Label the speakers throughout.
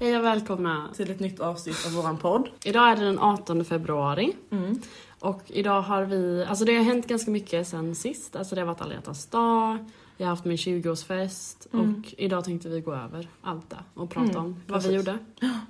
Speaker 1: välkomna!
Speaker 2: Till ett nytt avsnitt av våran podd.
Speaker 1: Idag är det den 18 februari
Speaker 2: Mm.
Speaker 1: och idag har vi, alltså det har hänt ganska mycket sen sist. Alltså det har varit alla hjärtans dag, jag har haft min 20-årsfest
Speaker 2: Mm.
Speaker 1: och idag tänkte vi gå över allt det och prata
Speaker 2: Mm,
Speaker 1: om vad vi
Speaker 2: precis.
Speaker 1: gjorde.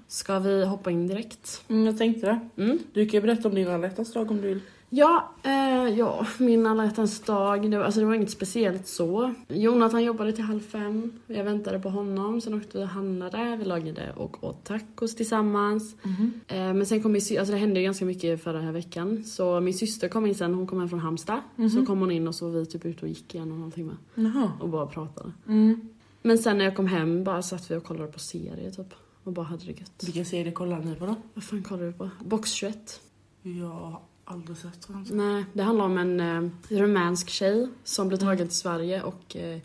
Speaker 1: Ska vi hoppa in direkt?
Speaker 2: jag tänkte det.
Speaker 1: Mm.
Speaker 2: Du kan ju berätta om din alla hjärtans dag om du vill.
Speaker 1: Ja, eh, ja, min alla hjärtans dag. Det, var- alltså det var inget speciellt så. Jonathan jobbade till halv fem. Jag väntade på honom. Sen åkte vi och handlade. Vi lagade och åt tacos tillsammans.
Speaker 2: Mm-hmm.
Speaker 1: Eh, men sen kom min sy- alltså det hände ju ganska mycket förra här veckan. Så min syster kom in sen. Hon kom hem från Halmstad. Så kom hon in och så var vi typ ute och gick igen och någonting med.
Speaker 2: Jaha.
Speaker 1: Och bara pratade.
Speaker 2: Mm.
Speaker 1: Men sen när jag kom hem bara satt vi och kollade på serier typ. Och bara hade det gött.
Speaker 2: Vilken serie kollar ni på då?
Speaker 1: Vad fan kollar du på? Box 21.
Speaker 2: Jag har aldrig sett den.
Speaker 1: Nej, det handlar om en eh, rumänsk tjej som blir tagen till Sverige och eh,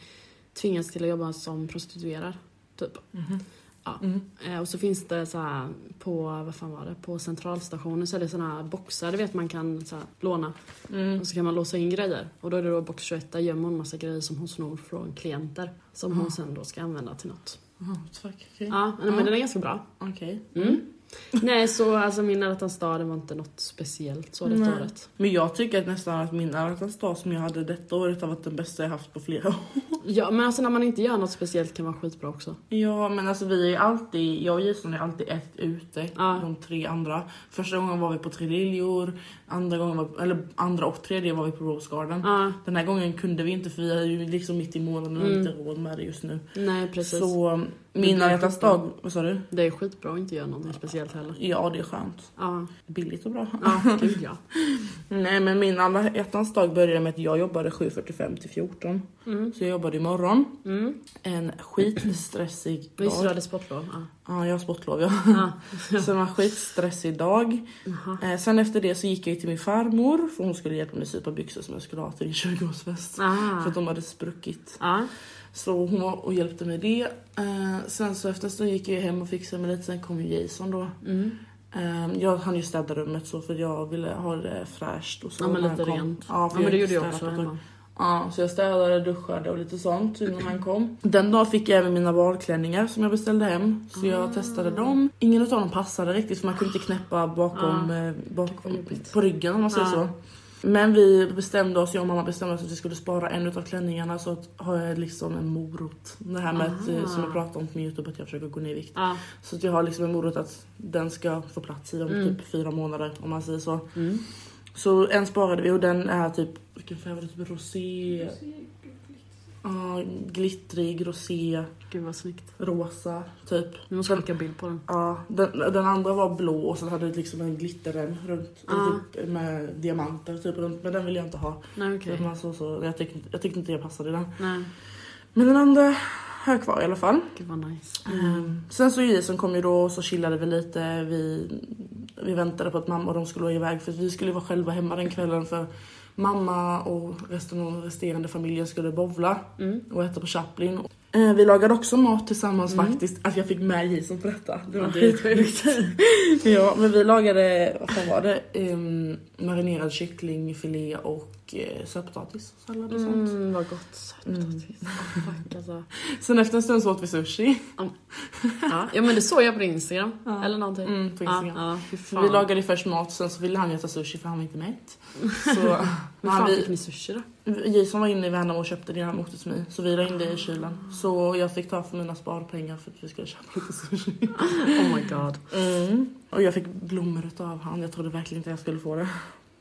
Speaker 1: tvingas till att jobba som prostituerad. Typ.
Speaker 2: Mhm.
Speaker 1: Ja.
Speaker 2: Mm.
Speaker 1: Eh, och så finns det så här på, vad fan var det, på centralstationen så är det såna här boxar, du vet man kan så här, låna
Speaker 2: Mm.
Speaker 1: och så kan man låsa in grejer. Och då är det då box 21, där gömmer hon massa grejer som hon snor från klienter. Som hon
Speaker 2: Ah.
Speaker 1: sen då ska använda till något.
Speaker 2: Jaha, tack. Okej.
Speaker 1: Ja, nej,
Speaker 2: Ah.
Speaker 1: men den är ganska bra.
Speaker 2: Okej.
Speaker 1: Mm. nej, så alltså min alla hjärtans dag, det var inte något speciellt så detta
Speaker 2: Nej.
Speaker 1: året.
Speaker 2: Men jag tycker att nästan att min alla hjärtans dag som jag hade detta året har varit den bästa jag haft på flera år.
Speaker 1: Ja men alltså när man inte gör något speciellt kan vara skitbra också.
Speaker 2: Ja men alltså vi är ju alltid, jag och Jason är alltid ett ute,
Speaker 1: Ja.
Speaker 2: de tre andra. Första gången var vi på Tre Liljor, andra, gången var, eller andra och tredje var vi på Rose Garden.
Speaker 1: Ja,
Speaker 2: Den här gången kunde vi inte för vi är ju liksom mitt i månaden och har
Speaker 1: Mm.
Speaker 2: inte råd med det just nu.
Speaker 1: nej precis.
Speaker 2: Så
Speaker 1: Det
Speaker 2: min
Speaker 1: blir
Speaker 2: alla hjärtans
Speaker 1: skitbra.
Speaker 2: dag, vad sa du?
Speaker 1: Det är skitbra att inte göra någonting speciellt heller.
Speaker 2: Ja det är skönt.
Speaker 1: Ja,
Speaker 2: Billigt och bra.
Speaker 1: ja gud ja.
Speaker 2: Nej men min alla hjärtans dag började med att jag jobbade 7.45 till 14.
Speaker 1: Mm.
Speaker 2: Så jag jobbade imorgon.
Speaker 1: Mm.
Speaker 2: En skitstressig
Speaker 1: Men Just det, du
Speaker 2: dag.
Speaker 1: hade sportlov. Ja.
Speaker 2: Ja jag har sportlov ja.
Speaker 1: Ja.
Speaker 2: Så det var en skitstressig dag.
Speaker 1: Jaha.
Speaker 2: Eh, sen efter det så gick jag ju till min farmor för hon skulle hjälpa mig att sy ett par byxor som jag skulle ha till min 20-årsfest. För
Speaker 1: Ah.
Speaker 2: att de hade spruckit.
Speaker 1: Ja.
Speaker 2: Så hon var och hjälpte mig det. Eh, sen så efter en stund gick jag ju hem och fixade mig lite, sen kom ju Jason då.
Speaker 1: Mm.
Speaker 2: Eh, jag hann ju städa rummet så för jag ville ha det fräscht och så.
Speaker 1: Ja men
Speaker 2: när
Speaker 1: lite
Speaker 2: han kom.
Speaker 1: rent.
Speaker 2: Ja,
Speaker 1: Ja
Speaker 2: för
Speaker 1: men
Speaker 2: jag
Speaker 1: det
Speaker 2: hade
Speaker 1: gjorde jag
Speaker 2: städat
Speaker 1: också
Speaker 2: ett tag.
Speaker 1: hemma.
Speaker 2: Ja, så jag städade, duschade och lite sånt innan han kom. Den dagen fick jag även mina balklänningar som jag beställde hem. Så jag
Speaker 1: Ah.
Speaker 2: testade dem. Ingen av dem passade riktigt för man kunde inte knäppa bakom,
Speaker 1: Ah.
Speaker 2: eh,
Speaker 1: Det
Speaker 2: bakom
Speaker 1: var jobbigt.
Speaker 2: på ryggen om man säger
Speaker 1: Ah.
Speaker 2: så. Men vi bestämde oss, jag och mamma bestämde oss att vi skulle spara en av klänningarna så att har jag liksom en morot. Det här med att, eh,
Speaker 1: Ah.
Speaker 2: som jag pratade om på min Youtube att jag försöker gå ner i vikt.
Speaker 1: Ja.
Speaker 2: Så att jag har liksom en morot att den ska få plats i om
Speaker 1: Mm.
Speaker 2: typ fyra månader om man säger så.
Speaker 1: Mm.
Speaker 2: Så en sparade vi och den är typ, vilken färg var det? Typ rosé. Ja, glittrig, rosé,
Speaker 1: Gud vad snyggt.
Speaker 2: rosa typ.
Speaker 1: Vi måste skicka bild på den.
Speaker 2: Ja, den, den andra var blå och sen hade det liksom en glitterrem runt eller
Speaker 1: Ah.
Speaker 2: typ, med diamanter typ runt. Men den ville jag inte ha.
Speaker 1: Nej
Speaker 2: Så
Speaker 1: okej.
Speaker 2: att man så, så, jag, tyckte, jag tyckte inte jag passade i den.
Speaker 1: Nej.
Speaker 2: Men den andra har jag kvar i alla fall.
Speaker 1: Gud vad nice.
Speaker 2: Ehm, Sen så Jason kom ju då och så chillade vi lite. Vi, vi väntade på att mamma och de skulle iväg för vi skulle vara själva hemma den kvällen för mamma och resten av resterande familjen skulle bovla
Speaker 1: Mm.
Speaker 2: och äta på Chaplin. Eh, Vi lagade också mat tillsammans
Speaker 1: Mm.
Speaker 2: faktiskt. Att jag fick med Jason på detta. Det var
Speaker 1: Ja, det är
Speaker 2: skitsjukt. ja, men vi lagade, vad fan var det? Ehm, marinerad kycklingfilé och eh, sötpotatis. Sallad och sånt.
Speaker 1: Mm, vad gott. Sötpotatis.
Speaker 2: Mm.
Speaker 1: Åh, fuck alltså.
Speaker 2: Sen efter en stund så åt vi sushi.
Speaker 1: Ja. ja men det såg jag på din Instagram.
Speaker 2: Ja.
Speaker 1: Eller någonting.
Speaker 2: Mm, på Instagram.
Speaker 1: Ja, ja, fy
Speaker 2: För
Speaker 1: fan.
Speaker 2: vi lagade först mat, sen så ville han äta sushi för han var inte mätt. Så
Speaker 1: Hur
Speaker 2: men
Speaker 1: fan
Speaker 2: vi-
Speaker 1: fick ni sushi då?
Speaker 2: Jason var inne i Värnamo och köpte det han åkte till mig. Så vi ringde i kylen. Så jag fick ta för mina sparpengar för att vi skulle köpa lite sushi.
Speaker 1: Oh my god. Mm.
Speaker 2: Och jag fick blommor utav han. Jag trodde verkligen inte jag skulle få det.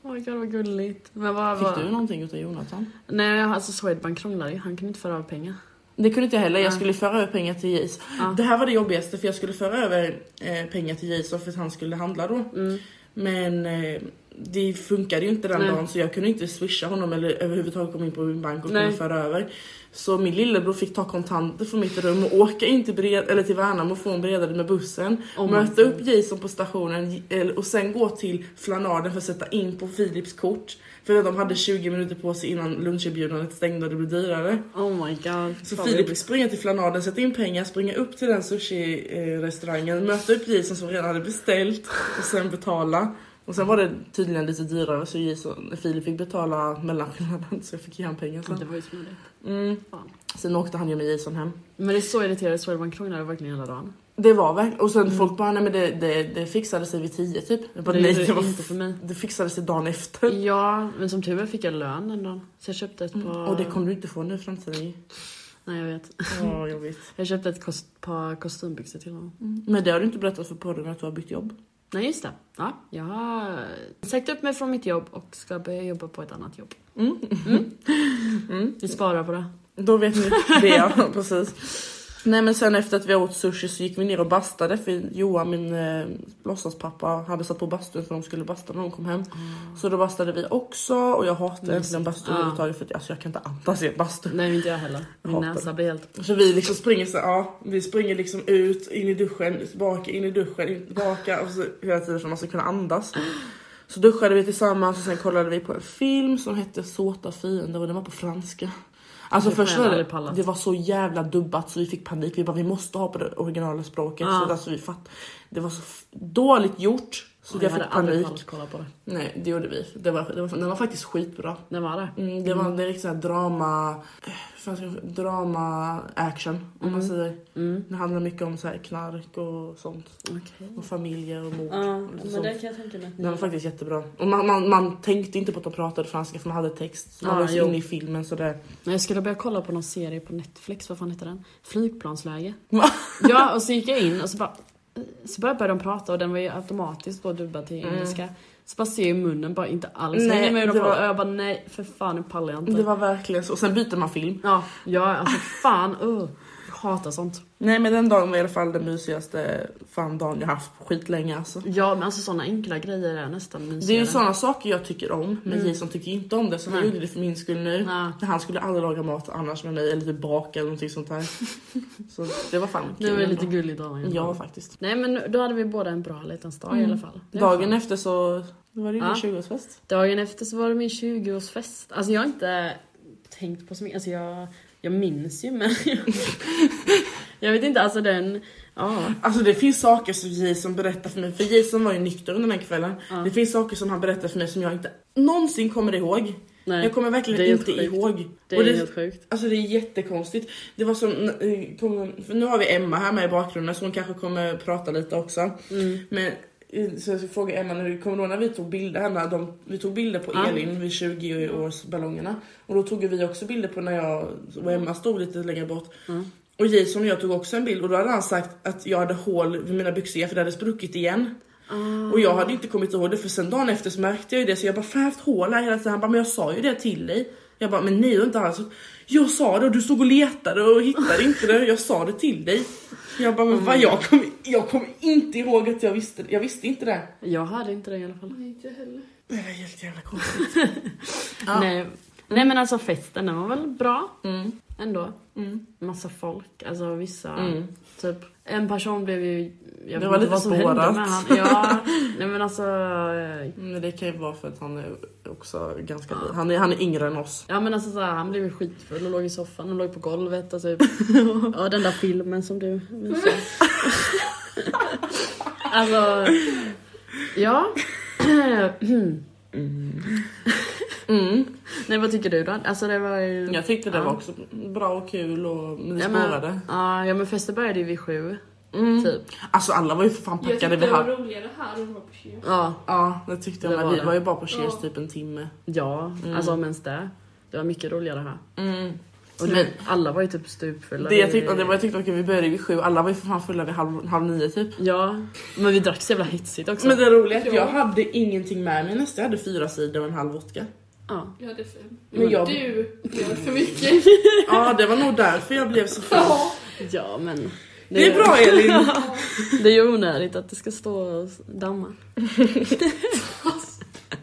Speaker 1: Oh my god vad gulligt. Men vad, vad...
Speaker 2: Fick du någonting utav Jonathan?
Speaker 1: Nej alltså Swedbank krånglade ju, han kunde inte föra av pengar.
Speaker 2: Det kunde inte jag heller. Jag
Speaker 1: Nej.
Speaker 2: skulle föra över pengar till Jason.
Speaker 1: Ja.
Speaker 2: Det här var det jobbigaste för jag skulle föra över eh, pengar till Jason för att han skulle handla då.
Speaker 1: Mm.
Speaker 2: Men eh, det funkade ju inte den
Speaker 1: Nej.
Speaker 2: dagen så jag kunde inte swisha honom eller överhuvudtaget komma in på min bank och
Speaker 1: Nej.
Speaker 2: kunna föra över. Så min lillebror fick ta kontanter från mitt rum och åka in till, Bred- eller till Värnamo och få en bredare med bussen.
Speaker 1: Oh my
Speaker 2: möta
Speaker 1: God.
Speaker 2: upp Jason på stationen ge- eller- och sen gå till Flanaden för att sätta in på Philips kort. För de hade 20 minuter på sig innan luncherbjudandet stängde och det blev dyrare.
Speaker 1: Oh my god. Fan,
Speaker 2: Så
Speaker 1: vad
Speaker 2: Filip
Speaker 1: jobbigt.
Speaker 2: springer till Flanaden, sätter in pengar, springer upp till den sushi-restaurangen, möter upp Jason som redan hade beställt och sen betala. Och sen var det tydligen lite dyrare så Jason, Filip fick betala mellanskillnaden så jag fick ge han pengar
Speaker 1: Ja,
Speaker 2: sen.
Speaker 1: Det var ju smidigt.
Speaker 2: Mm.
Speaker 1: Fan.
Speaker 2: Sen åkte han ju med Jason hem.
Speaker 1: Men det är så irriterande, Swedbank krånglade verkligen hela dagen.
Speaker 2: Det var verkligen, och sen folk bara nej men det, det, det fixade sig vid tio typ. Jag bara,
Speaker 1: Mm. Det
Speaker 2: nej,
Speaker 1: gjorde
Speaker 2: det, var,
Speaker 1: det inte för mig.
Speaker 2: det fixade sig dagen efter.
Speaker 1: Ja, men som tur var fick jag lön den dagen. Så jag köpte ett par...
Speaker 2: Och det kommer du inte få nu i framtiden ju.
Speaker 1: Nej, jag vet.
Speaker 2: Ja, jag vet.
Speaker 1: Jag köpte ett kost... par kostymbyxor till honom.
Speaker 2: Mm. Men det har du inte berättat för podden att du har bytt jobb.
Speaker 1: Nej, just det. Ja, jag har sagt upp mig från mitt jobb och ska börja jobba på ett annat jobb.
Speaker 2: Mm.
Speaker 1: Vi sparar på det.
Speaker 2: Då vet ni det, ja, precis. Nej men sen efter att vi åt sushi så gick vi ner och bastade för Johan, min eh, låtsaspappa, hade satt på bastun för de skulle basta när de kom hem. Så då bastade vi också och jag hatar egentligen bastu
Speaker 1: Ja.
Speaker 2: överhuvudtaget för att, alltså, jag kan inte andas i en bastu.
Speaker 1: Nej, inte jag heller. Min
Speaker 2: Hatar det.
Speaker 1: näsa blir helt...
Speaker 2: Så vi liksom springer så ja, vi springer liksom ut, in i duschen, tillbaka, in i duschen, in, tillbaka och så hela tiden för att man ska kunna andas. Så duschade vi tillsammans och sen kollade vi på en film som hette Såta fiender och den var på franska. Alltså
Speaker 1: Det får
Speaker 2: först
Speaker 1: jag
Speaker 2: var
Speaker 1: aldrig
Speaker 2: det,
Speaker 1: pallat.
Speaker 2: det var så jävla dubbat så vi fick panik. Vi bara vi måste ha på det originala språket.
Speaker 1: Ja.
Speaker 2: Så alltså, vi fatt, det var så f- dåligt gjort så
Speaker 1: Oj,
Speaker 2: jag
Speaker 1: hade
Speaker 2: fick
Speaker 1: aldrig
Speaker 2: panik.
Speaker 1: pallat kolla på det.
Speaker 2: Nej det gjorde vi. Det var, det var, den var faktiskt skitbra.
Speaker 1: När var det?
Speaker 2: Mm, det var en direkt såhär drama, eh, fan ska jag- drama action om man säger.
Speaker 1: Mm.
Speaker 2: Det handlar mycket om så här knark och sånt.
Speaker 1: Okej.
Speaker 2: Och familjer och mord.
Speaker 1: Ja,
Speaker 2: och
Speaker 1: men
Speaker 2: sånt.
Speaker 1: det kan jag tänka mig.
Speaker 2: Den var faktiskt jättebra. Och man, man, man tänkte inte på att de pratade franska för man hade text. Man
Speaker 1: Ja,
Speaker 2: var så
Speaker 1: jo. Mm.
Speaker 2: inne i filmen så det...
Speaker 1: Nej, Jag skulle börja kolla på någon serie på Netflix, vad fan heter den? Flygplansläge.
Speaker 2: Va?
Speaker 1: ja, och så gick jag in och så bara så bara började de prata och den var ju automatiskt då dubbad till engelska. Så bara ser jag i munnen bara inte alls
Speaker 2: Nej,
Speaker 1: hänger med hur de
Speaker 2: det var-
Speaker 1: pratar. Och Jag bara nej för fan nu pallar jag inte.
Speaker 2: Det var verkligen så. Och sen byter man film.
Speaker 1: Ja, ja alltså fan uh, jag hatar sånt.
Speaker 2: Nej men den dagen var i alla fall den mysigaste fan dagen jag haft på skitlänge alltså.
Speaker 1: Ja men alltså såna enkla grejer är nästan mysigare.
Speaker 2: Det är ju sådana saker jag tycker om men Jason tycker ju inte om det så han
Speaker 1: Mm. Nej.
Speaker 2: gjorde det för min skull nu.
Speaker 1: Ja.
Speaker 2: Han skulle aldrig laga mat annars med mig eller typ baka eller någonting sånt där. så det var fan
Speaker 1: Det var ju
Speaker 2: ändå.
Speaker 1: lite gulligt av honom.
Speaker 2: Ja faktiskt.
Speaker 1: Nej men då hade vi båda en bra liten start i alla fall. Det var
Speaker 2: Dagen
Speaker 1: skönt.
Speaker 2: efter så var det ju
Speaker 1: Ja.
Speaker 2: min 20-årsfest.
Speaker 1: Dagen efter så var det min 20-årsfest. Alltså jag har inte tänkt på så mycket. Alltså jag, jag minns ju men... jag vet inte, alltså den... Ja.
Speaker 2: Alltså det finns saker som Jason berättar för mig, för Jason var ju nykter under den här kvällen. Det finns saker som han berättar för mig som jag inte någonsin kommer ihåg.
Speaker 1: Nej,
Speaker 2: jag kommer verkligen
Speaker 1: det är helt
Speaker 2: inte
Speaker 1: sjukt.
Speaker 2: ihåg.
Speaker 1: Det är
Speaker 2: Och
Speaker 1: helt sjukt.
Speaker 2: Alltså det är jättekonstigt. Det var som, eh, kommer- för nu har vi Emma här med i bakgrunden så hon kanske kommer prata lite också.
Speaker 1: Mm.
Speaker 2: Men eh, så jag ska fråga Emma nu, kommer du ihåg när vi tog bilder henne? De, vi tog bilder på
Speaker 1: Ja.
Speaker 2: Elin vid 20-årsballongerna. Och då tog vi också bilder på när jag och Emma stod lite längre bort.
Speaker 1: Mm.
Speaker 2: Och Jason och jag tog också en bild och då hade han sagt att jag hade hål vid mina byxor för det hade spruckit igen.
Speaker 1: Ah.
Speaker 2: Och jag hade inte kommit ihåg det för sen dagen efter så märkte jag ju det så jag bara fan jag har haft hål här hela tiden. Han bara men jag sa ju det till dig. Jag bara men nej det har inte alls. Jag sa det och du stod och letade och hittade inte det. Jag sa det till dig. Jag bara men vad jag kommer jag kommer inte ihåg att jag visste Jag visste inte det.
Speaker 1: Jag hörde inte det i alla fall.
Speaker 3: Inte heller.
Speaker 2: Det är helt jävla konstigt. Ja.
Speaker 1: Nej. Nej men alltså festen den var väl bra
Speaker 2: Mm.
Speaker 1: ändå.
Speaker 2: Mm.
Speaker 1: Massa folk, alltså vissa...
Speaker 2: Mm.
Speaker 1: Typ, en person blev ju... Jag vet
Speaker 2: Det var
Speaker 1: inte
Speaker 2: lite
Speaker 1: vad som hände med
Speaker 2: spårat.
Speaker 1: han. Ja, nej men alltså...
Speaker 2: Mm, Men det kan ju vara för att han är också ganska han är, han är yngre än oss.
Speaker 1: Ja men alltså så här, han blev ju skitfull och låg i soffan och låg på golvet och typ. Ja den där filmen som du visade. Alltså. Ja.
Speaker 2: Mm.
Speaker 1: Nej vad tycker du då? Alltså det var ju.
Speaker 2: Jag tyckte det
Speaker 1: Ja.
Speaker 2: var också bra och kul och men det
Speaker 1: Ja,
Speaker 2: spårade.
Speaker 1: men, ja, ja men festen började ju vid sju.
Speaker 2: Mm.
Speaker 1: Typ.
Speaker 2: Alltså alla var ju för fan
Speaker 3: Jag tyckte
Speaker 2: packade vid
Speaker 3: det var
Speaker 2: halv...
Speaker 3: roligare här än vad på Cheers.
Speaker 1: Ja.
Speaker 2: Ja det tyckte
Speaker 1: Det
Speaker 2: jag med.
Speaker 1: var
Speaker 2: Vi
Speaker 1: det.
Speaker 2: var ju bara på Cheers
Speaker 3: Ja.
Speaker 2: typ en timme.
Speaker 1: Ja. Alltså om ens det. Det var mycket roligare här.
Speaker 2: Mm.
Speaker 1: Och du,
Speaker 2: Men-
Speaker 1: vet, alla var ju typ stupfulla.
Speaker 2: Det, jag
Speaker 1: Vi-
Speaker 2: tyckte, det var jag tyckte okej vi började vid sju, alla var ju för fan fulla vid halv, halv nio typ.
Speaker 1: Ja. Men vi drack så jävla hetsigt också.
Speaker 2: Men det roliga är att
Speaker 3: Ja.
Speaker 2: jag hade ingenting med mig nästa, jag hade fyra sidor och en halv vodka.
Speaker 1: Ja.
Speaker 3: Jag hade fem.
Speaker 2: Men jag-
Speaker 3: Du gör för mycket.
Speaker 2: Ja det var nog därför jag blev så full.
Speaker 3: Ja.
Speaker 1: Ja men. Det,
Speaker 2: Det är bra Elin!
Speaker 1: Det är ju onödigt att det ska stå och damma.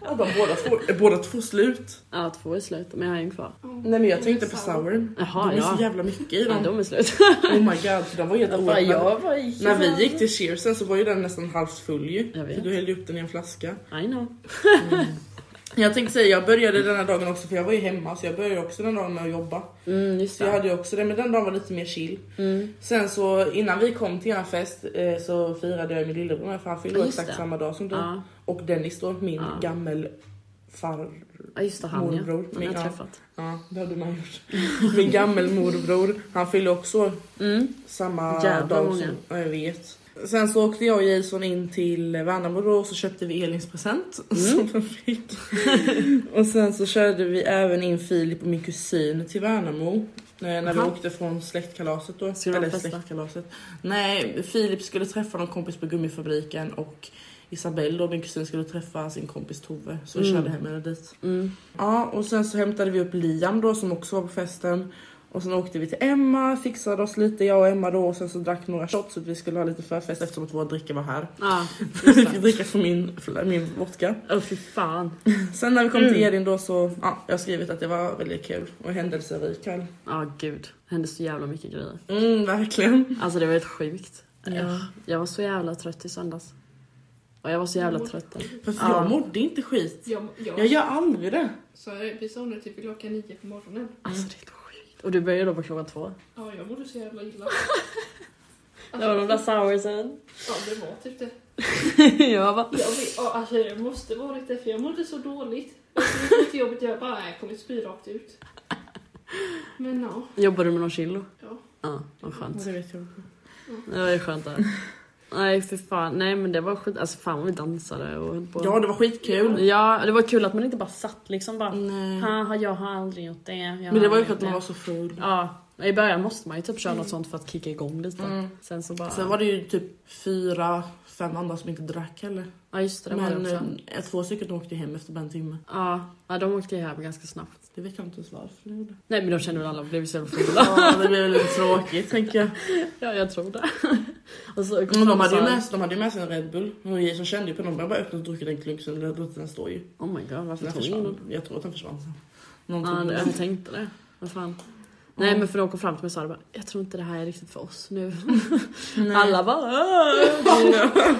Speaker 2: Ja, de båda, två, är båda två slut.
Speaker 1: Ja, två är slut, men jag har en kvar.
Speaker 2: Nej men jag tänkte på sourn.
Speaker 1: Jaha,
Speaker 2: de är
Speaker 1: ja.
Speaker 2: så jävla mycket i
Speaker 1: Ja,
Speaker 2: dem.
Speaker 1: de är slut.
Speaker 2: Oh my god, så de var helt
Speaker 1: Fan,
Speaker 2: oöppnade.
Speaker 1: jag var i-
Speaker 2: När vi gick till cheersen så var ju den nästan halvt full ju.
Speaker 1: Jag vet.
Speaker 2: För du hällde upp den i en flaska.
Speaker 1: I know.
Speaker 2: Jag tänkte säga, jag började den här dagen också för jag var ju hemma så jag började också den dagen med att jobba.
Speaker 1: Mm, just
Speaker 2: Så jag
Speaker 1: det.
Speaker 2: hade ju också det, men den dagen var lite mer chill.
Speaker 1: Mm.
Speaker 2: Sen så innan vi kom till er fest eh, så firade jag min lillebror med för han fyllde
Speaker 1: Ja,
Speaker 2: år
Speaker 1: just
Speaker 2: exakt
Speaker 1: det.
Speaker 2: samma dag som du.
Speaker 1: Ja.
Speaker 2: Och Dennis då, min
Speaker 1: Ja.
Speaker 2: gammel far...
Speaker 1: Ja just det, han ja.
Speaker 2: Morbror.
Speaker 1: Han har jag
Speaker 2: Ja.
Speaker 1: träffat.
Speaker 2: Ja, det hade man gjort. Min gammelmorbror, han fyllde också
Speaker 1: Mm.
Speaker 2: samma
Speaker 1: Jävlar
Speaker 2: dag
Speaker 1: många.
Speaker 2: som... Ja, jag vet. Sen så åkte jag och Jason in till Värnamo då och så köpte vi Elins present
Speaker 1: Mm.
Speaker 2: som de fick. och sen så körde vi även in Filip och min kusin till Värnamo. eh, När vi
Speaker 1: Aha.
Speaker 2: åkte från släktkalaset då.
Speaker 1: Skulle de
Speaker 2: Eller
Speaker 1: festa?
Speaker 2: släktkalaset. Nej, Filip skulle träffa någon kompis på gummifabriken och Isabelle då, min kusin, skulle träffa sin kompis Tove. Så vi
Speaker 1: Mm.
Speaker 2: körde hem henne dit.
Speaker 1: Mm.
Speaker 2: Ja, och sen så hämtade vi upp Liam då som också var på festen. Och sen åkte vi till Emma, fixade oss lite jag och Emma då och sen så drack några shots så att vi skulle ha lite förfest eftersom att våra drickor var här.
Speaker 1: Ja,
Speaker 2: Vi
Speaker 1: just
Speaker 2: fick
Speaker 1: det.
Speaker 2: dricka från min, förlåt, min vodka.
Speaker 1: Åh fy fan.
Speaker 2: Sen när vi kom till
Speaker 1: Mm.
Speaker 2: Edin då så, ja, jag har skrivit att det var väldigt kul och händelserik kväll.
Speaker 1: Ja gud, det hände så jävla mycket grejer.
Speaker 2: Mm, verkligen.
Speaker 1: Alltså det var helt sjukt.
Speaker 2: Ja.
Speaker 1: Jag var så jävla trött i söndags. Och jag var så jävla
Speaker 3: Mm.
Speaker 1: trött.
Speaker 2: Fast
Speaker 1: Ja.
Speaker 2: jag mådde inte skit.
Speaker 3: Jag, jag,
Speaker 2: Jag gör aldrig det.
Speaker 3: Så här, vi somnade typ klockan nio på morgonen.
Speaker 1: Alltså det är skit. Och du började då på klockan två.
Speaker 3: Ja, jag mådde så jävla illa. Alltså,
Speaker 1: Det var de där soursen.
Speaker 3: Ja, det var typ det.
Speaker 1: jag bara...
Speaker 3: Jag, vet- ja, alltså, det måste varit det, för jag mådde så dåligt. Jag skulle gå till jobbet och jag bara, nej, jag kommer spy rakt ut. Men ja.
Speaker 1: Jobbar du med någon kilo?
Speaker 3: ja.
Speaker 1: Ja, vad skönt.
Speaker 2: Det vet jag.
Speaker 1: Det var ju skönt där. Nej för fan, nej men det var skit. Alltså fan vad vi dansade och höll på.
Speaker 2: Ja, det var skitkul.
Speaker 1: Ja, det var kul att man inte bara satt liksom bara
Speaker 2: Nej.
Speaker 1: Haha, jag har aldrig gjort det. jag har
Speaker 2: Men det var ju
Speaker 1: aldrig
Speaker 2: för
Speaker 1: gjort
Speaker 2: att man var så full.
Speaker 1: Ja, i början måste man ju typ köra något sånt för att kicka igång lite.
Speaker 2: Mm.
Speaker 1: Sen så bara...
Speaker 2: Sen var det ju typ fyra, fem andra som inte drack heller.
Speaker 1: Ja just det, det var det
Speaker 2: Men
Speaker 1: också.
Speaker 2: eh, två stycken åkte hem efter bara en timme.
Speaker 1: Ja, ja, de åkte ju hem ganska snabbt.
Speaker 2: Det vet jag inte ens varför de gjorde.
Speaker 1: Nej men de kände väl alla blev så jävla fulla.
Speaker 2: Ja, det blev lite tråkigt tänker jag.
Speaker 1: ja, jag tror det. och så
Speaker 2: Men de,
Speaker 1: och
Speaker 2: hade ju
Speaker 1: sa,
Speaker 2: med, de hade ju med sig en Red Bull. Och Jason kände ju på dem. Jag bara öppnade och druckit en klunk sen låter den står ju.
Speaker 1: Oh my god, varför
Speaker 2: Den
Speaker 1: tog ingen den?
Speaker 2: försvann. Jag tror att den försvann sen. Någon
Speaker 1: Ja,
Speaker 2: tog
Speaker 1: det-
Speaker 2: den.
Speaker 1: jag tänkte det. Vad fan. Nej men för de kom fram till mig och sa det bara, jag tror inte det här är riktigt för oss nu.
Speaker 2: Nej.
Speaker 1: Alla bara "Åh."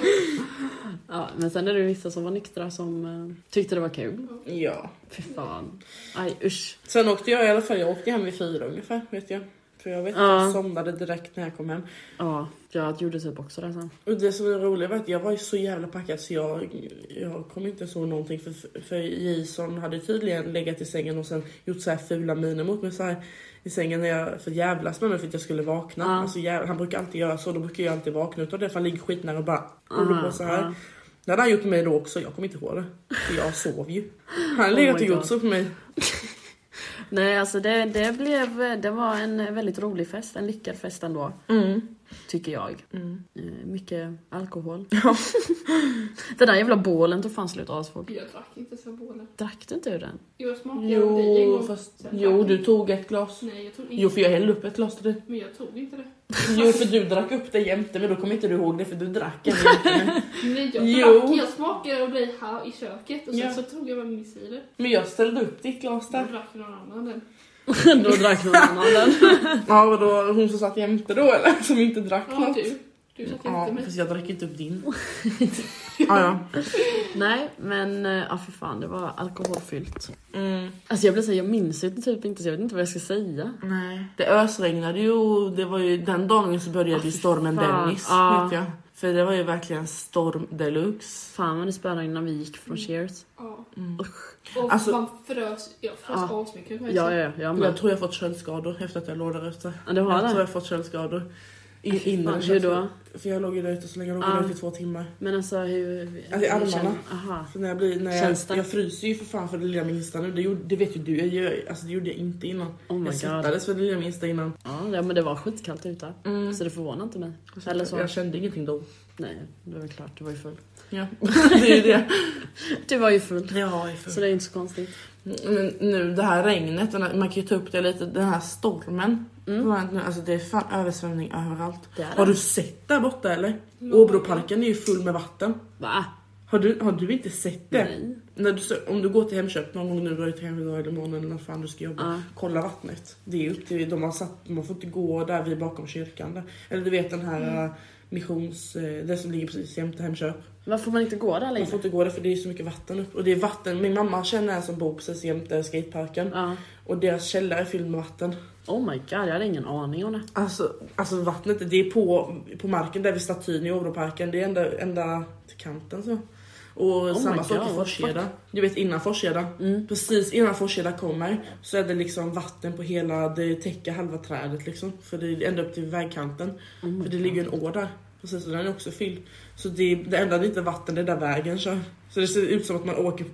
Speaker 1: Ja men sen är det ju vissa som var nyktra som eh, tyckte det var kul.
Speaker 2: Ja.
Speaker 1: Fy fan. Aj usch.
Speaker 2: Sen åkte jag i alla fall. Jag åkte hem vid fyra ungefär vet jag. För jag vet att
Speaker 1: Ja.
Speaker 2: jag somnade direkt när jag kom hem.
Speaker 1: Ja, jag gjorde typ också det sen.
Speaker 2: Och det som är roligt var att jag var ju så jävla packad så jag, jag kom inte så någonting för, för Jason hade tydligen legat i sängen och sen gjort så här fula miner mot mig så här i sängen när jag, för att jävlas med mig för att jag skulle vakna.
Speaker 1: Ja.
Speaker 2: Alltså, jäv, han brukar alltid göra så, då brukar jag alltid vakna utav det för han ligger skitnära och bara håller på så här.
Speaker 1: Ja.
Speaker 2: Det hade han gjort med mig då också, jag kommer inte ihåg det. För jag sov ju. Han hade legat
Speaker 1: my
Speaker 2: och gjort
Speaker 1: God.
Speaker 2: så på mig.
Speaker 1: Nej alltså det, det blev, det var en väldigt rolig fest, en lyckad fest ändå. Tycker jag.
Speaker 2: Mm.
Speaker 1: Eh, Mycket alkohol. den där jävla bålen tog fan slut asfort.
Speaker 3: Jag drack inte så bålen.
Speaker 1: Drack du inte ur den?
Speaker 3: Jag smakade av dig en
Speaker 2: Jo,
Speaker 3: gång.
Speaker 2: fast,
Speaker 3: Sen
Speaker 2: jo,
Speaker 3: drack
Speaker 2: du
Speaker 3: jag.
Speaker 2: tog ett glas.
Speaker 3: Nej, jag tog inte.
Speaker 2: Jo, för jag hällde upp ett glas till dig.
Speaker 3: Men jag tog inte det.
Speaker 2: Jo för du drack upp det jämte men då kommer inte du ihåg det för du drack en jämte.
Speaker 3: Nej, jag
Speaker 2: Jo.
Speaker 3: drack. Jag smakade av dig här i köket och sen
Speaker 2: Ja.
Speaker 3: så tog jag med mig cider.
Speaker 2: Men jag ställde upp ditt glas
Speaker 3: Då
Speaker 2: där.
Speaker 3: drack någon annan den.
Speaker 1: Då drack någon annan den.
Speaker 2: Ja vadå hon som satt jämte då eller? Som inte drack
Speaker 3: Ja, du. Du satt
Speaker 2: Ja
Speaker 3: inte med.
Speaker 2: fast jag drack inte upp din. ja ja.
Speaker 1: Nej men eh, ja för fan det var alkoholfyllt.
Speaker 2: Mm,
Speaker 1: Alltså jag blev såhär, jag minns ju typ inte så jag vet inte vad jag ska säga.
Speaker 2: nej. Det ösregnade ju och det var ju den dagen så började ju stormen
Speaker 1: fan.
Speaker 2: Dennis
Speaker 1: Ja.
Speaker 2: vet jag. För det var ju verkligen storm deluxe.
Speaker 1: Fan vad det spöade innan vi gick från Cheers.
Speaker 3: Ja.
Speaker 1: Usch.
Speaker 3: Och
Speaker 2: Alltså-
Speaker 3: man frös. Jag frös
Speaker 1: Ja.
Speaker 3: asmycket. kan
Speaker 1: Ja
Speaker 3: jag
Speaker 1: ja,
Speaker 3: säga.
Speaker 1: ja, jag
Speaker 2: Jag
Speaker 1: med.
Speaker 2: tror jag fått köldskador efter att jag låg där ute.
Speaker 1: Ja, du
Speaker 2: Jag
Speaker 1: har
Speaker 2: tror
Speaker 1: det?
Speaker 2: jag fått köldskador. In, inre
Speaker 1: Fan, hur då?
Speaker 2: köldskador. För jag låg ju där ute så länge, jag låg
Speaker 1: Ja.
Speaker 2: där ute i två timmar.
Speaker 1: Men alltså hur...
Speaker 2: Alltså, i
Speaker 1: hur
Speaker 2: armarna.
Speaker 1: känner- Aha.
Speaker 2: För när jag, blir, när jag,
Speaker 1: Känns det?
Speaker 2: jag fryser ju för fan för det lilla minsta nu. Det, gjorde, det vet ju du. Jag gör, alltså det gjorde jag inte innan.
Speaker 1: Oh my
Speaker 2: jag
Speaker 1: god.
Speaker 2: svettades för det lilla minsta innan.
Speaker 1: Ja, ja men det var skitkallt ute.
Speaker 2: Mm.
Speaker 1: Så det förvånar inte mig. Eller så.
Speaker 2: Jag kände ingenting då.
Speaker 1: Nej, det var klart. Du var ju full.
Speaker 2: Ja. det är ju det.
Speaker 1: Du var ju full.
Speaker 2: Jag har ju
Speaker 1: Så det är inte så konstigt.
Speaker 2: Men nu det här regnet, den här, man kan ju ta upp det lite. Den här stormen.
Speaker 1: Mm.
Speaker 2: Vad har hänt nu? Alltså det är fan översvämning överallt.
Speaker 1: Det är
Speaker 2: Har
Speaker 1: det.
Speaker 2: du sett där borta eller?
Speaker 3: Ja.
Speaker 2: Åbroparken är ju full med vatten.
Speaker 1: Va?
Speaker 2: Har du, har du inte sett det?
Speaker 1: Nej.
Speaker 2: När du, sö- om du går till Hemköp någon gång nu då, till idag eller imorgon eller när fan du ska jobba.
Speaker 1: Ja.
Speaker 2: Kolla vattnet. Det är upp till, de har satt, man får inte gå där vid bakom kyrkan. Där. Eller du vet den här
Speaker 1: Mm.
Speaker 2: eh, missions, eh, det som ligger precis jämte Hemköp.
Speaker 1: Varför får man inte gå där
Speaker 2: Man får
Speaker 1: längre?
Speaker 2: inte gå där för det är så mycket vatten upp. Och det är vatten, min mamma känner en som bor precis jämte skateparken.
Speaker 1: Ja.
Speaker 2: Och deras källare är fylld med vatten.
Speaker 1: Oh my god, jag hade ingen aning om det.
Speaker 2: Alltså, alltså vattnet, det är på, på marken där vid statyn i Åbroparken. Det är ända, ända till kanten så. Och
Speaker 1: Oh my
Speaker 2: samma sak i
Speaker 1: God,
Speaker 2: Forseda. Du vet innan Forseda.
Speaker 1: Mm.
Speaker 2: Precis innan Forseda kommer så är det liksom vatten på hela, det täcker halva trädet liksom. För det är ända upp till vägkanten. för det ligger en å där. Precis, och den är också fylld. Så det, det enda det inte är vatten det är där vägen kör. Så det ser ut som att man åker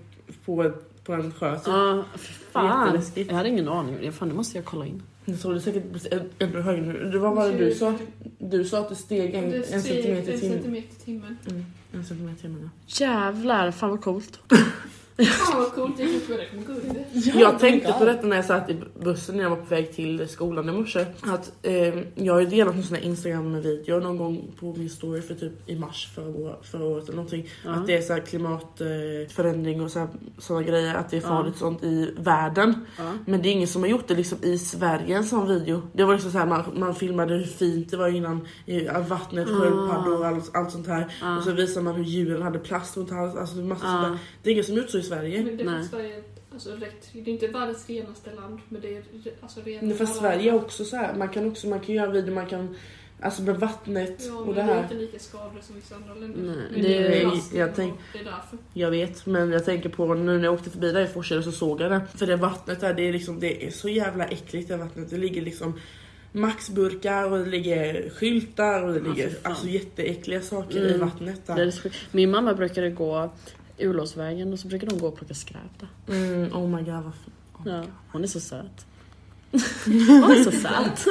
Speaker 2: på, ett- på en sjö typ.
Speaker 1: Ja, fy fan.
Speaker 2: Jätteläskigt.
Speaker 1: Jag hade ingen aning om det. Fan, det måste jag kolla in.
Speaker 2: Jag tror det säkert blir än- ännu högre nu. Det var vad du sa. Du sa att det steg en,
Speaker 3: Det
Speaker 2: en
Speaker 3: steg
Speaker 2: centimeter i
Speaker 3: en
Speaker 2: timmen.
Speaker 3: centimeter i timmen.
Speaker 2: Mm, en centimeter i timmen. ja.
Speaker 1: Jävlar, fan vad coolt.
Speaker 3: Fan vad coolt, det är typ vad det kommer gå under.
Speaker 2: Jag tänkte på detta när jag satt i bussen när jag var på väg till skolan i morse. Att eh, jag har ju delat någon sån här Instagram-video någon gång på min story för typ i mars förra, år- förra året eller någonting.
Speaker 1: Ja.
Speaker 2: Att det är så här klimatförändring och så här, såna grejer. Att det är
Speaker 1: Ja.
Speaker 2: farligt sånt i världen.
Speaker 1: Ja.
Speaker 2: Men det är ingen som har gjort det liksom i Sverige en sån video. Det var liksom så här, man, man filmade hur fint det var innan i, av vattnet, sköldpaddor och allt, allt sånt här. Och så visar man hur djuren hade plast runt halsen. Alltså, det är massa sånt där. det är ingen som gjort så i Sverige.
Speaker 3: Men det är
Speaker 1: Nej.
Speaker 3: för Sverige alltså, rätt. Det är inte världens renaste land, men det är re- alltså renare.
Speaker 2: Men fast Sverige är också så här, man kan också man kan göra video, man kan Alltså med vattnet
Speaker 3: Ja,
Speaker 2: och
Speaker 3: men
Speaker 2: det
Speaker 3: vi är
Speaker 2: här.
Speaker 3: inte lika skadade som vissa andra länder.
Speaker 1: Nej,
Speaker 3: Men
Speaker 1: det
Speaker 2: är-
Speaker 3: plast
Speaker 2: jag
Speaker 3: och
Speaker 2: tänk-
Speaker 3: Det är därför.
Speaker 2: Jag vet, men jag tänker på nu när jag åkte förbi där i Forsele så såg jag det. För det vattnet där, det är, liksom, det är så jävla äckligt det vattnet. Det ligger liksom maxburkar och det ligger skyltar och det
Speaker 1: Ja,
Speaker 2: ligger
Speaker 1: för fan.
Speaker 2: alltså jätteäckliga saker i
Speaker 1: Mm.
Speaker 2: vattnet
Speaker 1: Det är
Speaker 2: där.
Speaker 1: så sjukt. Min mamma brukade gå Ulåsvägen och så brukade de gå och plocka skräp där.
Speaker 2: Mm, oh my god vad f-
Speaker 1: Ja. Hon är så söt. Hon är så söt.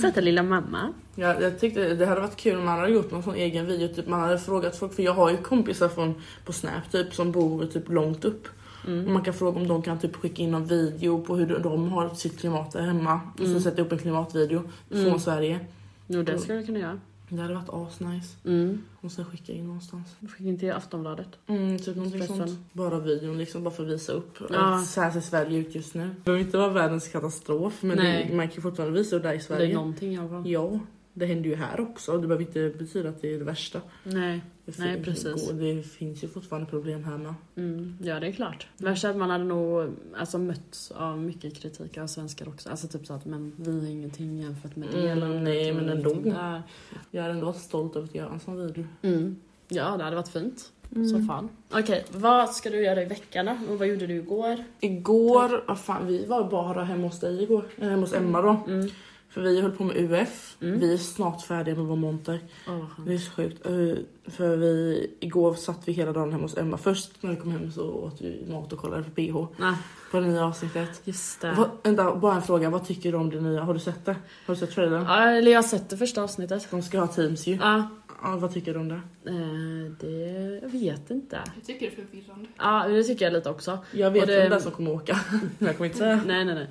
Speaker 1: Söta lilla mamma.
Speaker 2: Ja, jag tyckte det hade varit kul om man hade gjort någon sån egen video, typ man hade frågat folk, för jag har ju kompisar från, på Snap typ som bor typ långt upp.
Speaker 1: Mm.
Speaker 2: Och man kan fråga om de kan typ skicka in någon video på hur de- de har sitt klimat där hemma. Och så sätta upp en klimatvideo från
Speaker 1: Mm.
Speaker 2: Sverige.
Speaker 1: Jo, det skulle jag kunna göra.
Speaker 2: Det hade varit asnice.
Speaker 1: Mm.
Speaker 2: Och sen skicka in någonstans.
Speaker 1: Skicka in till Aftonbladet.
Speaker 2: Mm, typ någonting
Speaker 1: Special.
Speaker 2: sånt. Bara videon liksom, bara för att visa upp.
Speaker 1: Ja.
Speaker 2: Att Så här ser Sverige ut just nu. Det behöver inte vara världens katastrof men
Speaker 1: Nej.
Speaker 2: det, man kan ju fortfarande visa upp det här i
Speaker 1: Det är
Speaker 2: Sverige.
Speaker 1: någonting i alla fall.
Speaker 2: ja, det händer ju här också. Det behöver inte betyda att det är det värsta.
Speaker 1: Nej.
Speaker 2: Det fin-
Speaker 1: Nej, precis.
Speaker 2: går- Det finns ju fortfarande problem här med.
Speaker 1: Mm, ja det är klart. Värst är att man hade nog alltså, mötts av mycket kritik av svenskar också. Alltså typ så att men vi är ingenting jämfört med det.
Speaker 2: Mm,
Speaker 1: eller
Speaker 2: nej, men
Speaker 1: ingenting
Speaker 2: ändå.
Speaker 1: där.
Speaker 2: Jag är ändå stolt över att göra en sån video.
Speaker 1: Mm. Ja det hade varit fint.
Speaker 2: Mm.
Speaker 1: Så fan. Okej, vad ska du göra i veckan då? Och vad gjorde du igår?
Speaker 2: Igår, vad fan, vi var bara hemma hos dig igår. Eller hemma hos Emma då.
Speaker 1: Mm.
Speaker 2: För vi höll på med UF.
Speaker 1: Mm.
Speaker 2: Vi är snart färdiga med vår monter.
Speaker 1: Åh, vad skönt.
Speaker 2: Det är så sjukt. eh, För vi, igår satt vi hela dagen hemma hos Emma. Först när vi kom hem så åt vi mat och kollade på BH.
Speaker 1: Nej,
Speaker 2: På det nya avsnittet.
Speaker 1: just det.
Speaker 2: Vad, vänta, bara en fråga. Vad tycker du om det nya? Har du sett det? Har du sett trailern?
Speaker 1: Ja, eller jag har sett det första avsnittet.
Speaker 2: De ska ha teams ju.
Speaker 1: Ja,
Speaker 2: Ja, vad tycker du om det?
Speaker 1: eh, det... Jag vet inte.
Speaker 3: Jag tycker det är förvirrande.
Speaker 1: Ja, det tycker jag lite också.
Speaker 2: Jag
Speaker 1: Och
Speaker 2: vet
Speaker 1: det-
Speaker 2: vem det är som kommer åka. Men jag kommer inte säga.
Speaker 1: Nej, nej, nej.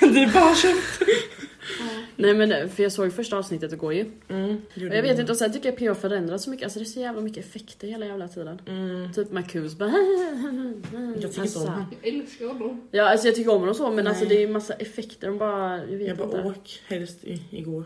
Speaker 2: det är bara köpt.
Speaker 1: Nej men eh, för jag såg första avsnittet igår ju.
Speaker 2: Mm,
Speaker 1: Och jag vet inte, och sen tycker jag PH förändras så mycket, alltså det är så jävla mycket effekter hela jävla tiden.
Speaker 2: Mm.
Speaker 1: Typ Marcus bara
Speaker 2: Jag tycker
Speaker 1: Alltså,
Speaker 2: inte om honom.
Speaker 3: Jag älskar honom.
Speaker 1: Ja alltså jag tycker om honom så men
Speaker 2: Nej.
Speaker 1: alltså det är massa effekter, de bara, jag vet
Speaker 2: Jag bara
Speaker 1: inte.
Speaker 2: åk helst i, igår.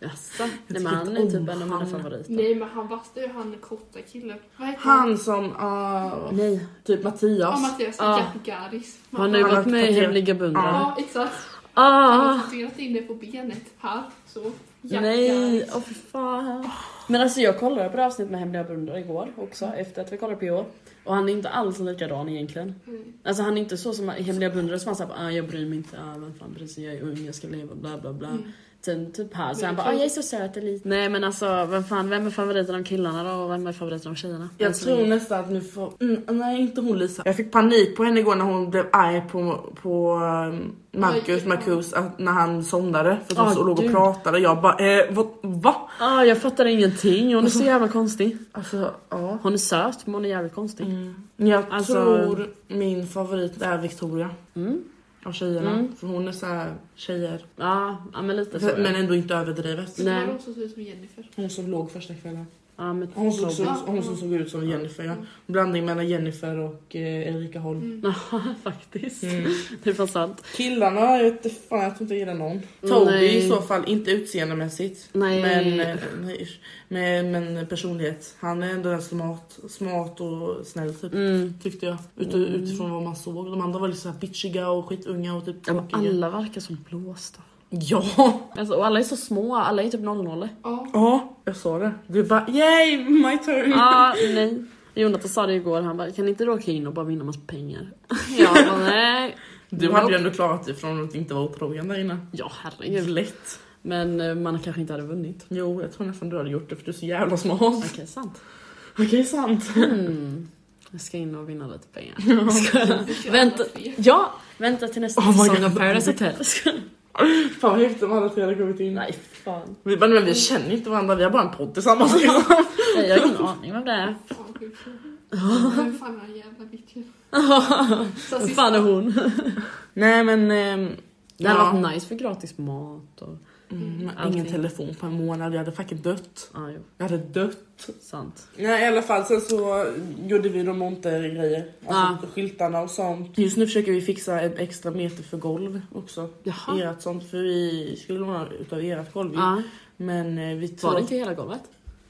Speaker 1: Jaså? Nej men
Speaker 2: tycker
Speaker 1: han
Speaker 2: inte
Speaker 1: är
Speaker 2: om
Speaker 1: typ en av mina
Speaker 2: han.
Speaker 1: favoriter.
Speaker 3: Nej men han värsta är ju han korta killen. Vad heter
Speaker 2: Han som, ah,
Speaker 1: Nej.
Speaker 2: typ
Speaker 3: Ja,
Speaker 2: Mattias.
Speaker 3: Mattias
Speaker 1: Ja.
Speaker 3: Ga- Garis.
Speaker 1: Han har ju
Speaker 2: Han
Speaker 1: varit
Speaker 2: har
Speaker 1: med i
Speaker 2: tatuerat-
Speaker 1: Hemliga beundrare.
Speaker 3: Ja exakt. Han har
Speaker 1: Ah!
Speaker 3: tatuerat in det på benet. Här. Så. Ga-
Speaker 1: Nej,
Speaker 3: Garis.
Speaker 1: åh för fan. Men alltså jag kollade på det avsnittet med Hemliga beundrare igår också efter att vi kollade på PH. Och han är inte alls likadan egentligen.
Speaker 3: Mm.
Speaker 1: Alltså han är inte så som i Hemliga beundrare som han såhär, ah, jag bryr mig inte, ah, vem fan bryr sig, jag är ung, jag ska leva, bla bla bla.
Speaker 3: Mm.
Speaker 1: Sen typ här så
Speaker 3: Men
Speaker 1: han
Speaker 3: det
Speaker 1: bara, ah,
Speaker 3: tror-
Speaker 1: jag är så söt eller lite. Nej men alltså vem fan, vem är favoriten av killarna då och vem är favoriten av tjejerna? Alltså, Än
Speaker 2: Jag
Speaker 1: så
Speaker 2: tror
Speaker 1: länge.
Speaker 2: nästan att nu får... Mm, nej, inte hon Lisa. Jag fick panik på henne igår när hon blev arg på, på um, Marcus,
Speaker 3: Oj.
Speaker 2: Marcus att, när han somnade. För att
Speaker 1: Ah,
Speaker 2: hon så låg
Speaker 1: gud.
Speaker 2: och pratade. Jag bara, eh, vad, va?
Speaker 1: Ah, jag fattar ingenting, hon är så jävla konstig.
Speaker 2: Alltså, ja.
Speaker 1: Hon är söt men hon är jävligt konstig.
Speaker 2: Mm. Jag
Speaker 1: Alltså-
Speaker 2: tror min favorit är Victoria.
Speaker 1: Mm.
Speaker 2: Av tjejerna.
Speaker 1: Mm.
Speaker 2: För hon är så här tjejer.
Speaker 1: Ja, Ah, ja men lite så.
Speaker 2: Men ändå inte överdrivet.
Speaker 3: Så
Speaker 1: Nej.
Speaker 3: var det också ut som Jennifer.
Speaker 2: Hon som låg första kvällen.
Speaker 1: Ja, men
Speaker 2: Hon som,
Speaker 1: så.
Speaker 2: såg, hon som såg ut som Jennifer ja. Blandning mellan Jennifer och eh, Erika Holm.
Speaker 3: Mm.
Speaker 1: Ja, faktiskt.
Speaker 2: Mm.
Speaker 1: Det är fan sant.
Speaker 2: Killarna, jag vet inte fan, jag tror inte jag gillar någon. Toby
Speaker 1: Nej.
Speaker 2: i så fall, inte utseendemässigt.
Speaker 1: Nej.
Speaker 2: Men, eh, nej, ish. men, men personlighet. Han är ändå den smart, smart och snäll typ.
Speaker 1: Mm.
Speaker 2: Tyckte jag. Ut, Utifrån vad man såg. De andra var lite så här bitchiga och skitunga och typ
Speaker 1: Ja, men
Speaker 2: tråkiga.
Speaker 1: alla verkar som blåsta.
Speaker 2: Ja!
Speaker 1: eh, Alltså, och alla är så små, alla är typ 00.
Speaker 3: Ja.
Speaker 2: Ja, jag sa det. Du bara yay my turn!
Speaker 1: Ah, nej. Jonathan sa det igår, han bara kan inte du åka in och bara vinna massa pengar? Jag bara nej.
Speaker 2: Du hade ju ändå klarat dig från att inte vara otrogen där inne.
Speaker 1: Ja herregud.
Speaker 2: Lätt.
Speaker 1: Men eh, man kanske inte hade vunnit.
Speaker 2: Jo, jag tror nästan du hade gjort det för du är så jävla smart.
Speaker 1: Okej, sant.
Speaker 2: Okej, sant.
Speaker 1: Mm. Jag ska in och vinna lite pengar. Ska jag- Vänta. Ja, vänta till nästa
Speaker 2: Oh my
Speaker 1: säsong
Speaker 2: God.
Speaker 1: av Paradise Hotel. Ska-
Speaker 2: Fan vad häftigt om alla tre hade kommit in.
Speaker 1: Nej, fan.
Speaker 2: Vi bara, men vi känner inte varandra, vi har bara en podd tillsammans. liksom.
Speaker 1: Nej, jag har ingen aning om det är.
Speaker 3: Fan, sjukt. Vem fan är den jävla bitchen? Så
Speaker 1: Vad
Speaker 3: sista-
Speaker 1: fan är hon?
Speaker 2: Nej men... ehm,
Speaker 1: Det hade
Speaker 2: ja.
Speaker 1: varit nice för gratis mat och...
Speaker 2: Mm, men
Speaker 1: Allting.
Speaker 2: ingen telefon på en månad, jag hade fucking dött.
Speaker 1: Ja, jo,
Speaker 2: Jag hade dött.
Speaker 1: sant.
Speaker 2: Nej i alla fall, sen så gjorde vi de montergrejer. Alltså
Speaker 1: Ja.
Speaker 2: skyltarna och sånt. Just nu försöker vi fixa en extra meter för golv också.
Speaker 1: Jaha.
Speaker 2: Ert sånt, för vi skulle låna utav ert golv ju.
Speaker 1: Ja,
Speaker 2: Men eh, vi tror...
Speaker 1: var det inte hela golvet?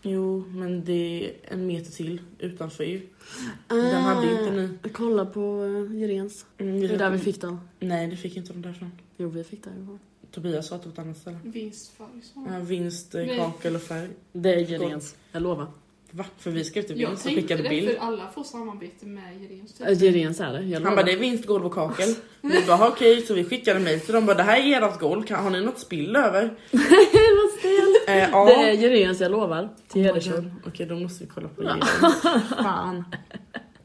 Speaker 2: Jo, men det är en meter till utanför ju. Den hade inte ni.
Speaker 1: Ah, Kolla på uh, Jirens.
Speaker 2: Mm,
Speaker 1: Det är där vi fick den.
Speaker 2: Nej, det fick inte de därifrån.
Speaker 1: Jo, vi fick den.
Speaker 2: Tobias sa att det var ett annat ställe.
Speaker 3: Vinstfärgsmal.
Speaker 2: Ja, vinst, eh,
Speaker 3: Nej.
Speaker 2: kakel och färg.
Speaker 1: Det är Jirens, jag lovar.
Speaker 2: Va? För vi skrev till
Speaker 3: Jag
Speaker 2: vinst och
Speaker 3: tänkte
Speaker 2: skickade
Speaker 3: det,
Speaker 2: bild.
Speaker 3: för alla får samarbete med Jirens.
Speaker 1: Äh, Jirens är det, jag lovar.
Speaker 2: Han bara det är vinst, golv och kakel. Vi bara okej, så vi skickade mejl till dem bara det här är ert golv, kan, har ni något spill över?
Speaker 1: Vad stelt.
Speaker 2: Eh, ja.
Speaker 1: Det är Jirens, jag lovar. Till
Speaker 2: Oh my
Speaker 1: hedersord.
Speaker 2: God. Okej då måste vi kolla på det. Fan.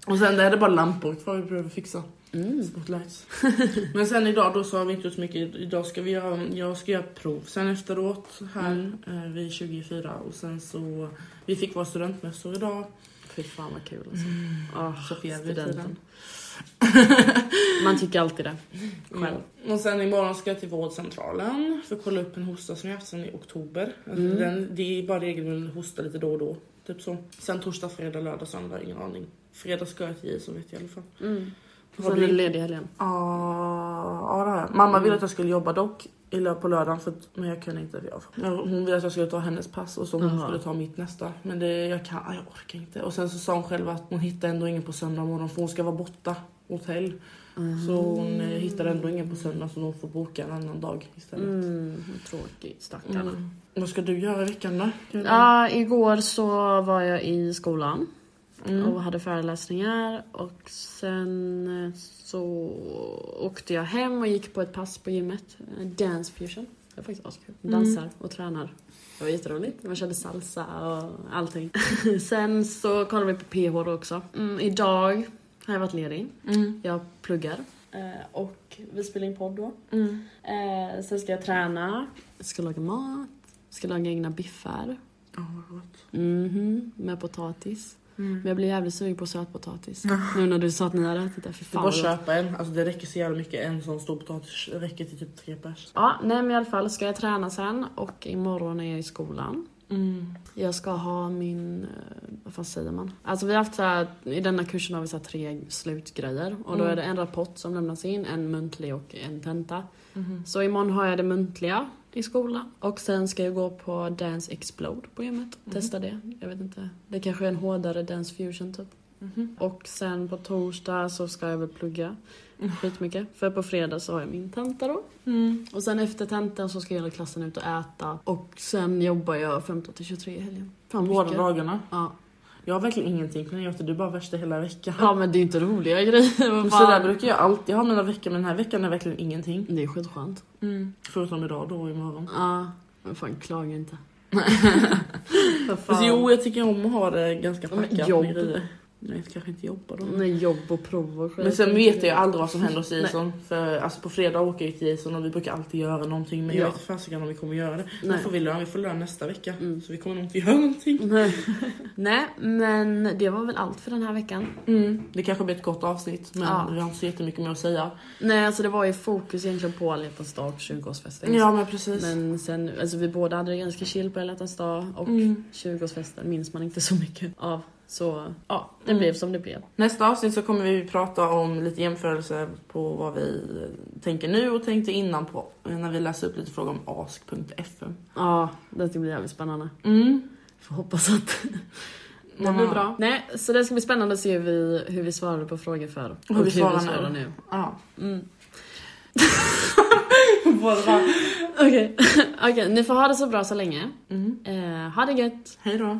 Speaker 2: Och sen det här är bara lampor kvar vi behöver fixa.
Speaker 1: Mm.
Speaker 2: Spotlights. Men sen idag då så har vi inte gjort så mycket. Idag ska vi göra, jag ska göra prov sen efteråt här
Speaker 1: Mm.
Speaker 2: eh, vid 24 och sen så vi fick våra studentmössor idag.
Speaker 1: Fy fan vad kul alltså. Ah,
Speaker 2: Sofia vid
Speaker 1: studenten. Man tycker alltid det. Själv.
Speaker 2: Mm. Och sen imorgon ska jag till vårdcentralen för att kolla upp en hosta som jag haft sedan i oktober. Alltså
Speaker 1: Mm.
Speaker 2: Den, det är bara regelbunden hosta lite då och då. Typ så. Sen torsdag, fredag, lördag, söndag, ingen aning. Fredag ska jag till som vet jag i alla fall.
Speaker 1: Mm. Och
Speaker 2: Har
Speaker 1: sen
Speaker 2: du-
Speaker 1: är du ledig i helgen.
Speaker 2: Ja, ja, det har jag. Mamma
Speaker 1: Mm.
Speaker 2: ville att jag skulle jobba dock i lö- på lördagen för, att- men jag kunde inte. det av. Ja, Hon ville att jag skulle ta hennes pass och så hon
Speaker 1: Aha.
Speaker 2: skulle ta mitt nästa. Men det, jag, kan, aj, jag orkar inte. Och sen så sa hon själv att hon hittar ändå ingen på söndag morgon för hon ska vara borta hotell. Så
Speaker 1: Mm.
Speaker 2: hon eh, hittar ändå ingen på söndag så hon får boka en annan dag istället.
Speaker 1: Mm, tråkigt stackarn.
Speaker 2: Mm. Vad ska du göra i veckan då?
Speaker 1: Mm. Ja, igår så var jag i skolan
Speaker 2: Mm.
Speaker 1: och hade föreläsningar och sen eh, så åkte jag hem och gick på ett pass på gymmet. eh, Dance fusion. Det var faktiskt askul. Dansar och tränar. Det var jätteroligt. Man körde salsa och allting. sen så kollade vi på PH då också. Mm, idag har jag varit ledig.
Speaker 2: Mm.
Speaker 1: Jag pluggar. eh, Och vi spelar in podd då. Eh, Sen ska jag träna. Jag ska laga mat. Jag ska laga egna biffar.
Speaker 2: Ja, vad gott.
Speaker 1: Mhm, med potatis. Men jag blir jävligt sugen på sötpotatis. Nu när du sa att ni hade ätit det, fy
Speaker 2: Du
Speaker 1: fan.
Speaker 2: bara
Speaker 1: vad gott.
Speaker 2: köpa en. Alltså det räcker så jävla mycket. En sån stor potatis räcker till typ tre pers.
Speaker 1: Ja, nej men i alla fall ska jag träna sen och imorgon är jag i skolan. Jag ska ha min, eh, vad fan säger man? Alltså vi har haft så här, i denna kursen har vi så här tre slutgrejer. Och då
Speaker 2: Mm.
Speaker 1: är det en rapport som lämnas in, en muntlig och en tenta.
Speaker 2: Mhm.
Speaker 1: Så imorgon har jag det muntliga i skolan. Och sen ska jag gå på Dance Explode på gymmet. Testa det. Jag vet inte. Det kanske är en hårdare Dance Fusion typ.
Speaker 2: Mhm.
Speaker 1: Och sen på torsdag så ska jag väl plugga skitmycket. För på fredag så har jag min tenta då. Och sen efter tentan så ska hela klassen ut och äta. Och sen jobbar jag 15 till 23 i helgen. Fan
Speaker 2: Båda
Speaker 1: mycket.
Speaker 2: dagarna.
Speaker 1: Ja.
Speaker 2: Jag har verkligen ingenting planerat. Du är bara värsta hela veckan.
Speaker 1: ja men det är ju inte roliga grejer. vad
Speaker 2: Men
Speaker 1: fan.
Speaker 2: Så där brukar jag alltid ha mina veckor men den här veckan är verkligen ingenting.
Speaker 1: Det är skitskönt.
Speaker 2: Förutom idag då och imorgon.
Speaker 1: Ja. Men fan klaga inte. Vad fan.
Speaker 2: Fast Alltså, jo jag tycker om att ha det ganska
Speaker 1: Ja, men
Speaker 2: packat
Speaker 1: jobb.
Speaker 2: med grejer. Nej jag kanske inte jobbar då.
Speaker 1: Nej, jobb och prov och skit.
Speaker 2: Men sen vet jag aldrig vad som händer hos Jason. För alltså på fredag åker jag till Jason och vi brukar alltid göra någonting. Men
Speaker 1: Ja.
Speaker 2: jag vet inte fasiken om vi kommer göra det. Nu
Speaker 1: Nej.
Speaker 2: får vi lön, vi får lön nästa vecka.
Speaker 1: Mm.
Speaker 2: Så vi kommer nog inte göra någonting.
Speaker 1: Nej. Nej, men det var väl allt för den här veckan.
Speaker 2: Det kanske blir ett kort avsnitt men
Speaker 1: Mm. Ja.
Speaker 2: vi har inte så jättemycket mer att säga.
Speaker 1: Nej, alltså det var ju fokus egentligen på alla hjärtans dag och 20-årsfesten.
Speaker 2: Ja men precis.
Speaker 1: Men sen, alltså vi båda hade det ganska chill på alla hjärtans dag och
Speaker 2: Mm.
Speaker 1: 20-årsfesten minns man inte så mycket av. Så ja, det blev som det blev.
Speaker 2: Nästa avsnitt så kommer vi prata om lite jämförelser på vad vi tänker nu och tänkte innan på när vi läser upp lite frågor om ask.fm.
Speaker 1: Ja, det ska bli jävligt spännande.
Speaker 2: Mm.
Speaker 1: Får hoppas att det blir bra. Nej, så det ska bli spännande att se hur vi, hur vi svarade på frågor förr.
Speaker 2: vi
Speaker 1: Och hur vi
Speaker 2: svarar nu.
Speaker 1: svarar nu.
Speaker 2: Ja.
Speaker 1: Mm.
Speaker 2: Båda bara,
Speaker 1: Okej, Okej, ni får ha det så bra så länge.
Speaker 2: mm.
Speaker 1: Eh, ha det gött!
Speaker 2: Hej då.